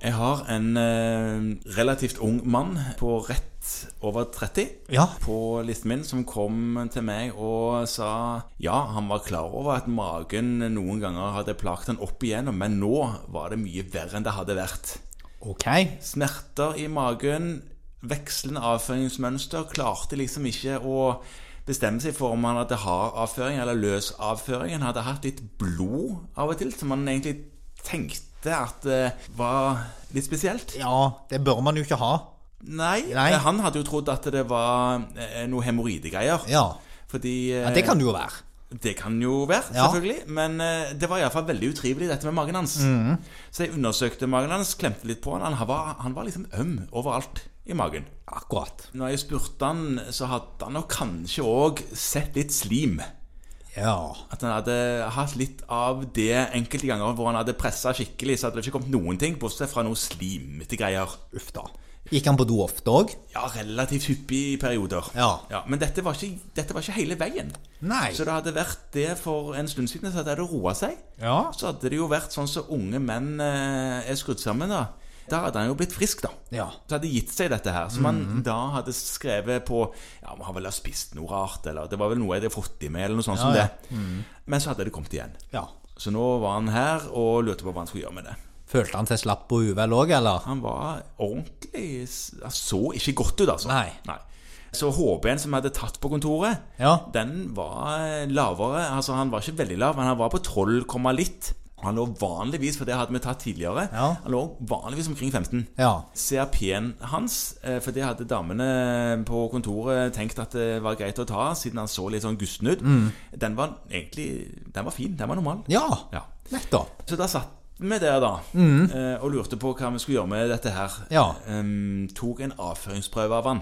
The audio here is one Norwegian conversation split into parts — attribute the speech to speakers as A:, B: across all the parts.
A: Jeg har en eh, relativt ung mann på rett over 30
B: Ja.
A: på listen min som kom til meg og sa ja, han var klar over at magen noen ganger hadde plaget han opp igjennom, men nå var det mye verre enn det hadde vært.
B: Ok.
A: Smerter i magen, vekslende avføringsmønster, klarte liksom ikke å bestemme seg for om han hadde hard avføring eller løs avføring. Han hadde hatt litt blod av og til, som han egentlig tenkte at eh, var litt spesielt.
B: Ja, det bør man jo ikke ha.
A: Nei,
B: Nei.
A: eh, han hadde jo trodd at det var eh, noe hemoroidegreier.
B: Ja.
A: Fordi eh,
B: ja. Det kan det jo være.
A: det kan jo være,
B: Ja.
A: selvfølgelig. Men eh, det var iallfall veldig utrivelig, dette med magen hans.
B: Mm.
A: Så jeg undersøkte magen hans, klemte litt på han. Han var, han var liksom øm overalt i magen.
B: Akkurat.
A: Når jeg spurte han, så hadde han nok kanskje òg sett litt slim.
B: Ja.
A: At han hadde hatt litt av det enkelte ganger hvor han hadde pressa skikkelig, så hadde det ikke kommet noen ting, bortsett fra noe slimete greier.
B: Uff da. Gikk han på do ofte òg?
A: Ja, relativt hyppig i perioder.
B: Ja.
A: men dette var, ikke, dette var ikke hele veien.
B: Nei.
A: Så det hadde vært det for en stund siden, så hadde det roa seg.
B: Ja.
A: Så hadde det jo vært sånn som unge menn eh, er skrudd sammen, da. Da hadde han jo blitt frisk, da.
B: Ja. Mhm.
A: Så hadde gitt seg dette her. Som han da hadde skrevet på Ja, man har vel ha spist noe rart, eller det var vel noe jeg hadde fått i meg, eller noe sånt som
B: ja. Mhm.
A: det. Men så hadde det kommet igjen.
B: ja.
A: Så nå var han her og lurte på hva han skulle gjøre med det.
B: Følte han seg slapp og uvel òg, eller?
A: Han var ordentlig Han så ikke godt ut, altså.
B: Nei.
A: Så HB-en som jeg hadde tatt på kontoret,
B: Ja.
A: den var lavere. Altså, han var ikke veldig lav, men han var på 12, komma litt. Han lå vanligvis, for det hadde vi tatt tidligere,
B: Ja.
A: han lå vanligvis omkring 15.
B: Ja.
A: CRP-en hans, eh, for det hadde damene på kontoret tenkt at det var greit å ta, siden han så litt sånn gusten ut,
B: Mm.
A: den var egentlig den var fin. Den var normal.
B: Ja.
A: Ja.
B: Nettopp.
A: Så da satt vi der, da, eh, og lurte på hva vi skulle gjøre med dette her.
B: Mm. Ja.
A: Em, tok en avføringsprøve av han.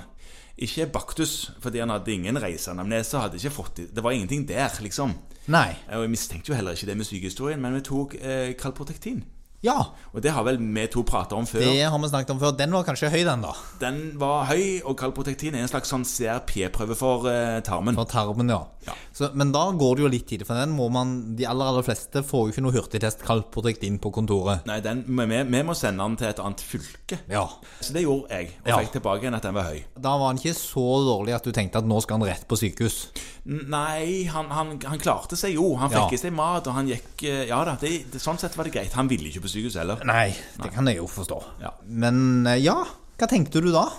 A: Ikke Baktus, fordi han hadde ingen reiseanamnese. Hadde ikke fått det. det var ingenting der, liksom.
B: Nei.
A: Og Jeg mistenkte jo heller ikke det med sykehistorien, men vi tok eh, kalprotektin.
B: Ja.
A: Og det har vel vi to prata om før.
B: Det har vi snakket om før. Den var kanskje høy, den, da.
A: Den var høy, og kalprotektin er en slags sånn CRP-prøve for eh, tarmen.
B: For tarmen, ja.
A: Ja.
B: Så, men da går det jo litt tid, for den må man De aller, aller fleste får jo ikke noe hurtigtest kalprotektin inn på kontoret.
A: Nei, den, vi, vi må sende den til et annet fylke.
B: Ja.
A: Så det gjorde jeg, og
B: Ja.
A: fikk tilbake igjen at den var høy.
B: Da var han ikke så dårlig at du tenkte at nå skal han rett på sykehus.
A: Nei, han, han, han klarte seg jo. Han
B: Ja.
A: fikk i seg mat, og han gikk eh, Ja da, det, det, sånn sett var det greit. Han ville ikke på sykehus heller.
B: Nei, det kan jeg jo forstå.
A: Ja.
B: Men eh, ja, hva tenkte du da?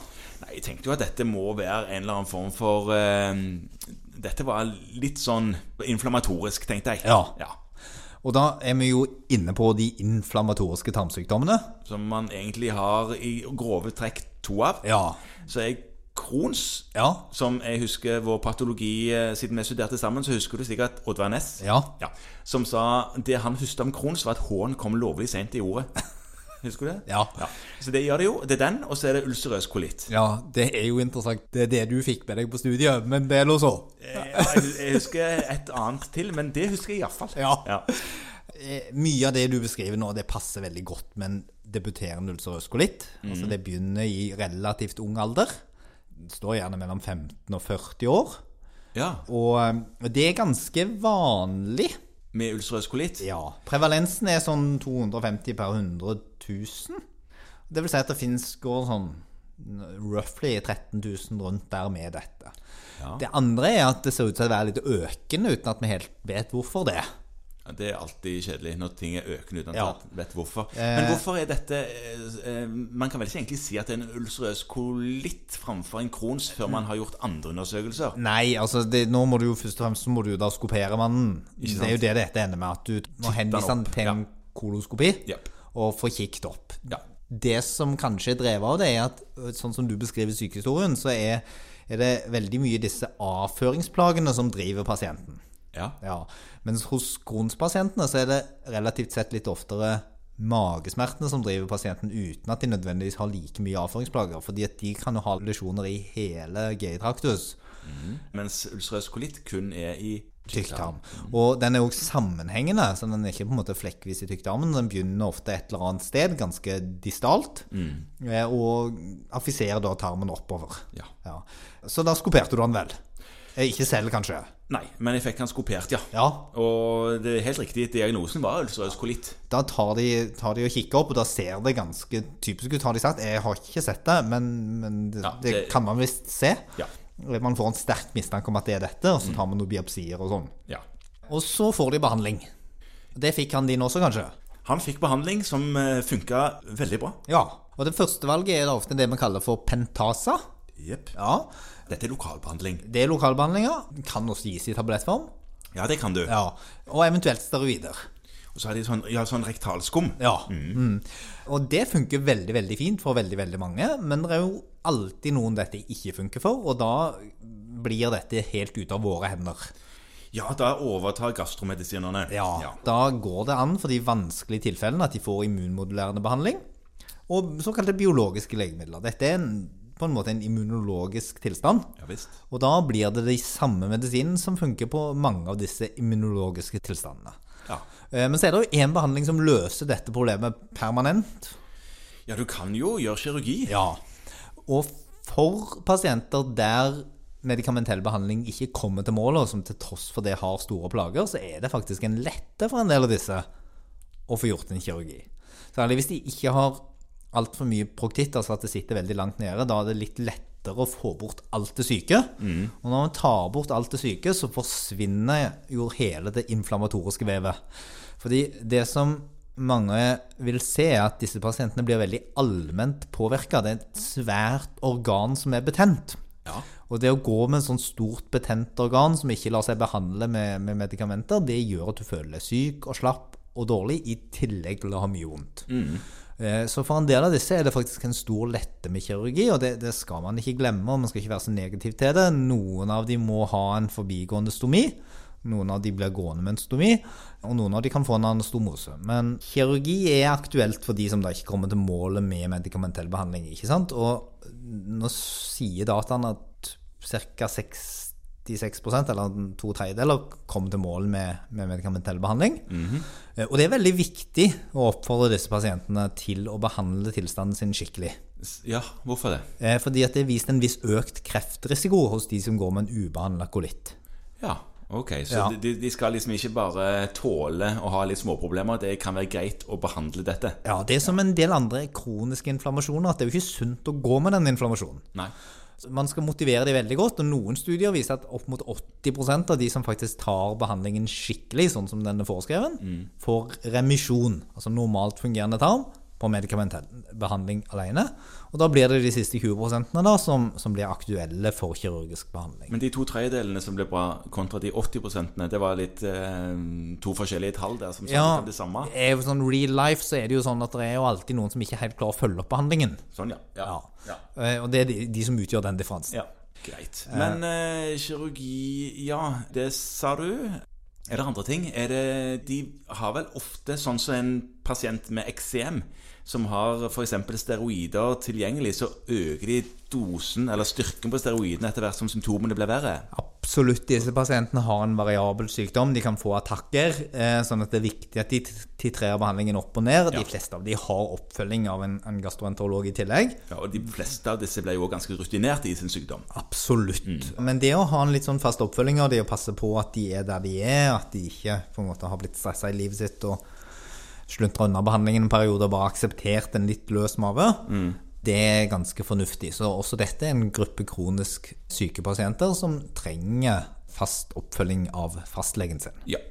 A: Nei, jeg tenkte jo at dette må være en eller annen form for eh, Dette var litt sånn inflammatorisk, tenkte jeg.
B: Ja. Og da er vi jo inne på de inflammatoriske tarmsykdommene.
A: Som man egentlig har i grove trekk to av.
B: Ja.
A: Så er Crohns,
B: Ja.
A: som jeg husker vår patologi eh, Siden vi studerte sammen, så husker du sikkert Oddvar Næss.
B: Ja.
A: Som sa det han husket om Crohns, var at H-en kom lovlig seint i ordet. Husker du det?
B: Ja.
A: Ja. Så det gjør det jo. Det er den, og så er det ulcerøs kolitt.
B: ja, det er jo interessant. Det er det du fikk med deg på studiet, men det er nå så.
A: Eh, Jeg, jeg husker et annet til, men det husker jeg iallfall.
B: Ja.
A: Ja.
B: Eh, Mye av det du beskriver nå, det passer veldig godt med en debuterende ulcerøs kolitt. Altså det begynner i relativt ung alder. Det står gjerne mellom 15 og 40 år.
A: ja.
B: Og eh, det er ganske vanlig.
A: Med ulcerøs kolitt.
B: Ja. Prevalensen er sånn 250 per 100 000. Det vil si at det finnes går sånn roughly 13 000 rundt der med dette.
A: Ja.
B: Det andre er at det ser ut til å være litt økende, uten at vi helt vet hvorfor det.
A: Ja, Det er alltid kjedelig når ting er økende uten at
B: Ja.
A: man vet hvorfor. Men hvorfor er dette eh, eh, Man kan vel ikke egentlig si at det er en ulcerøs kolitt framfor en Crohns før man har gjort andre undersøkelser?
B: Nei, altså det, nå må du jo først og fremst så må du jo da skopere mannen. Det
A: sant?
B: er jo det dette ender med, at du må henvise han
A: opp,
B: til en
A: ja.
B: koloskopi
A: Japp.
B: og få kikket opp.
A: Ja.
B: Det som kanskje er drevet av det, er at øh, sånn som du beskriver sykehistorien, så er, er det veldig mye disse avføringsplagene som driver pasienten.
A: Ja.
B: Ja. Mens hos Crohns-pasientene så er det relativt sett litt oftere magesmertene som driver pasienten uten at de nødvendigvis har like mye avføringsplager, fordi at de kan jo ha lesjoner i hele GI-traktus.
A: Mens ulcerøs kolitt kun er i
B: tykktarm.
A: Mm.
B: Og den er også sammenhengende, så den er ikke på en måte flekkvis i tykktarmen. Den begynner ofte et eller annet sted, ganske distalt, eh, og affiserer da tarmen oppover.
A: Mm. Ja.
B: Så da skuperte du den vel? Eh, Ikke selv, kanskje?
A: Nei, men jeg fikk han skopert, ja.
B: Ja,
A: Og det er helt riktig, diagnosen var ulcerøs kolitt.
B: da tar de, tar de og kikker opp, og da ser det ganske typisk ut, har de sagt. Jeg har ikke sett det, men, men det,
A: Ja,
B: det
A: det-
B: kan man visst se. Eh,
A: Ja. Mm.
B: Man får en sterk mistanke om at det er dette, og så tar man noen biopsier og sånn.
A: ja.
B: Og så får de behandling. Det fikk han din også, kanskje?
A: Han fikk behandling som funka veldig bra.
B: Ja. Og det første valget er da ofte det vi kaller for pentasa.
A: Jepp.
B: Ja.
A: Dette er lokalbehandling.
B: Det er lokalbehandlinger. Kan også gis i tablettform.
A: Ja, det kan du.
B: Ja. Og eventuelt steroider.
A: Og så har de sånn, ja, sånn rektalskum.
B: Ja. Mm. Og det funker veldig, veldig fint for veldig, veldig mange, men det er jo alltid noen dette ikke funker for, og da blir dette helt ut av våre hender.
A: Ja, da overtar gastromedisinerne. ja.
B: Da går det an for de vanskelige tilfellene at de får immunmodulerende behandling, og såkalte biologiske legemidler. Dette er en, på en måte en immunologisk tilstand,
A: Ja, visst.
B: og da blir det de samme medisinen som funker på mange av disse immunologiske tilstandene.
A: Ja.
B: Eh, Men så er det jo én behandling som løser dette problemet permanent,
A: ja, du kan jo gjøre kirurgi.
B: Ja. Og for pasienter der medikamentell behandling ikke kommer til målet, og som til tross for det har store plager, så er det faktisk en lette for en del av disse å få gjort en kirurgi. Særlig hvis de ikke har altfor mye proktitt, altså at det sitter veldig langt nede. Da er det litt lettere å få bort alt det syke. Og når man tar bort alt det syke, så forsvinner jo hele det inflammatoriske vevet. Fordi det som mange vil se, er at disse pasientene blir veldig allment påvirka. Det er et svært organ som er betent.
A: Ja.
B: Og det å gå med en sånn stort betent organ som ikke lar seg behandle med, med medikamenter, det gjør at du føler deg syk og slapp og dårlig, i tillegg til å ha mye vondt. Eh, Så for en del av disse er det faktisk en stor lette med kirurgi, og det, det skal man ikke glemme, og man skal ikke være så negativ til det. Noen av de må ha en forbigående stomi, noen av de blir gående med en stomi, og noen av de kan få en anastomose. Men kirurgi er aktuelt for de som da ikke kommer til målet med medikamentell behandling, ikke sant? Og nå sier dataen at ca. 66 eller to tredjedeler kom til mål med, med medikamentell behandling. Eh, Og det er veldig viktig å oppfordre disse pasientene til å behandle tilstanden sin skikkelig.
A: S- Ja, hvorfor det?
B: Eh, Fordi at det er vist en viss økt kreftrisiko hos de som går med en ubehandla kolitt.
A: Ja, ok. Så
B: Ja.
A: De, de skal liksom ikke bare tåle å ha litt småproblemer. Det kan være greit å behandle dette.
B: Ja, det er som en del andre kroniske inflammasjoner, at det er jo ikke sunt å gå med den inflammasjonen.
A: Nei.
B: Man skal motivere de veldig godt, og noen studier viser at opp mot 80 av de som faktisk tar behandlingen skikkelig, sånn som den er foreskreven,
A: Mm.
B: får remisjon, altså normalt fungerende tarm, på medikamentell behandling alene. Og da blir det de siste 20 da, som, som blir aktuelle for kirurgisk behandling.
A: Men de to tredjedelene som ble bra, kontra de 80 det var litt eh, to forskjellige tall der som sa
B: Ja,
A: litt om det samme.
B: det er jo sånn real life så er det jo sånn at det er jo alltid noen som ikke helt klarer å følge opp behandlingen.
A: Sånn, ja. Ja.
B: Ja.
A: ja.
B: Eh, Og det er de, de som utgjør den differansen.
A: ja. Greit. Men eh, kirurgi, ja, det sa du. Er det andre ting? Er det, de har vel ofte, sånn som en pasient med eksem, som har f.eks. steroider tilgjengelig, så øker de dosen eller styrken på steroidene etter hvert som symptomene blir verre.
B: Absolutt. Disse pasientene har en variabel sykdom. De kan få attakker. eh, Sånn at det er viktig at de t- titrerer behandlingen opp og ned. De fleste av de har oppfølging av en, en gastroenterolog i tillegg.
A: Ja, og de fleste av disse ble jo også ganske rutinerte i sin sykdom.
B: Absolutt. Men det å ha en litt sånn fast oppfølging av de, og passe på at de er der de er, at de ikke på en måte har blitt stressa i livet sitt og sluntra unna behandlingen en periode og bare akseptert en litt løs mage, det er ganske fornuftig. Så også dette er en gruppe kronisk syke pasienter som trenger fast oppfølging av fastlegen sin.
A: Ja.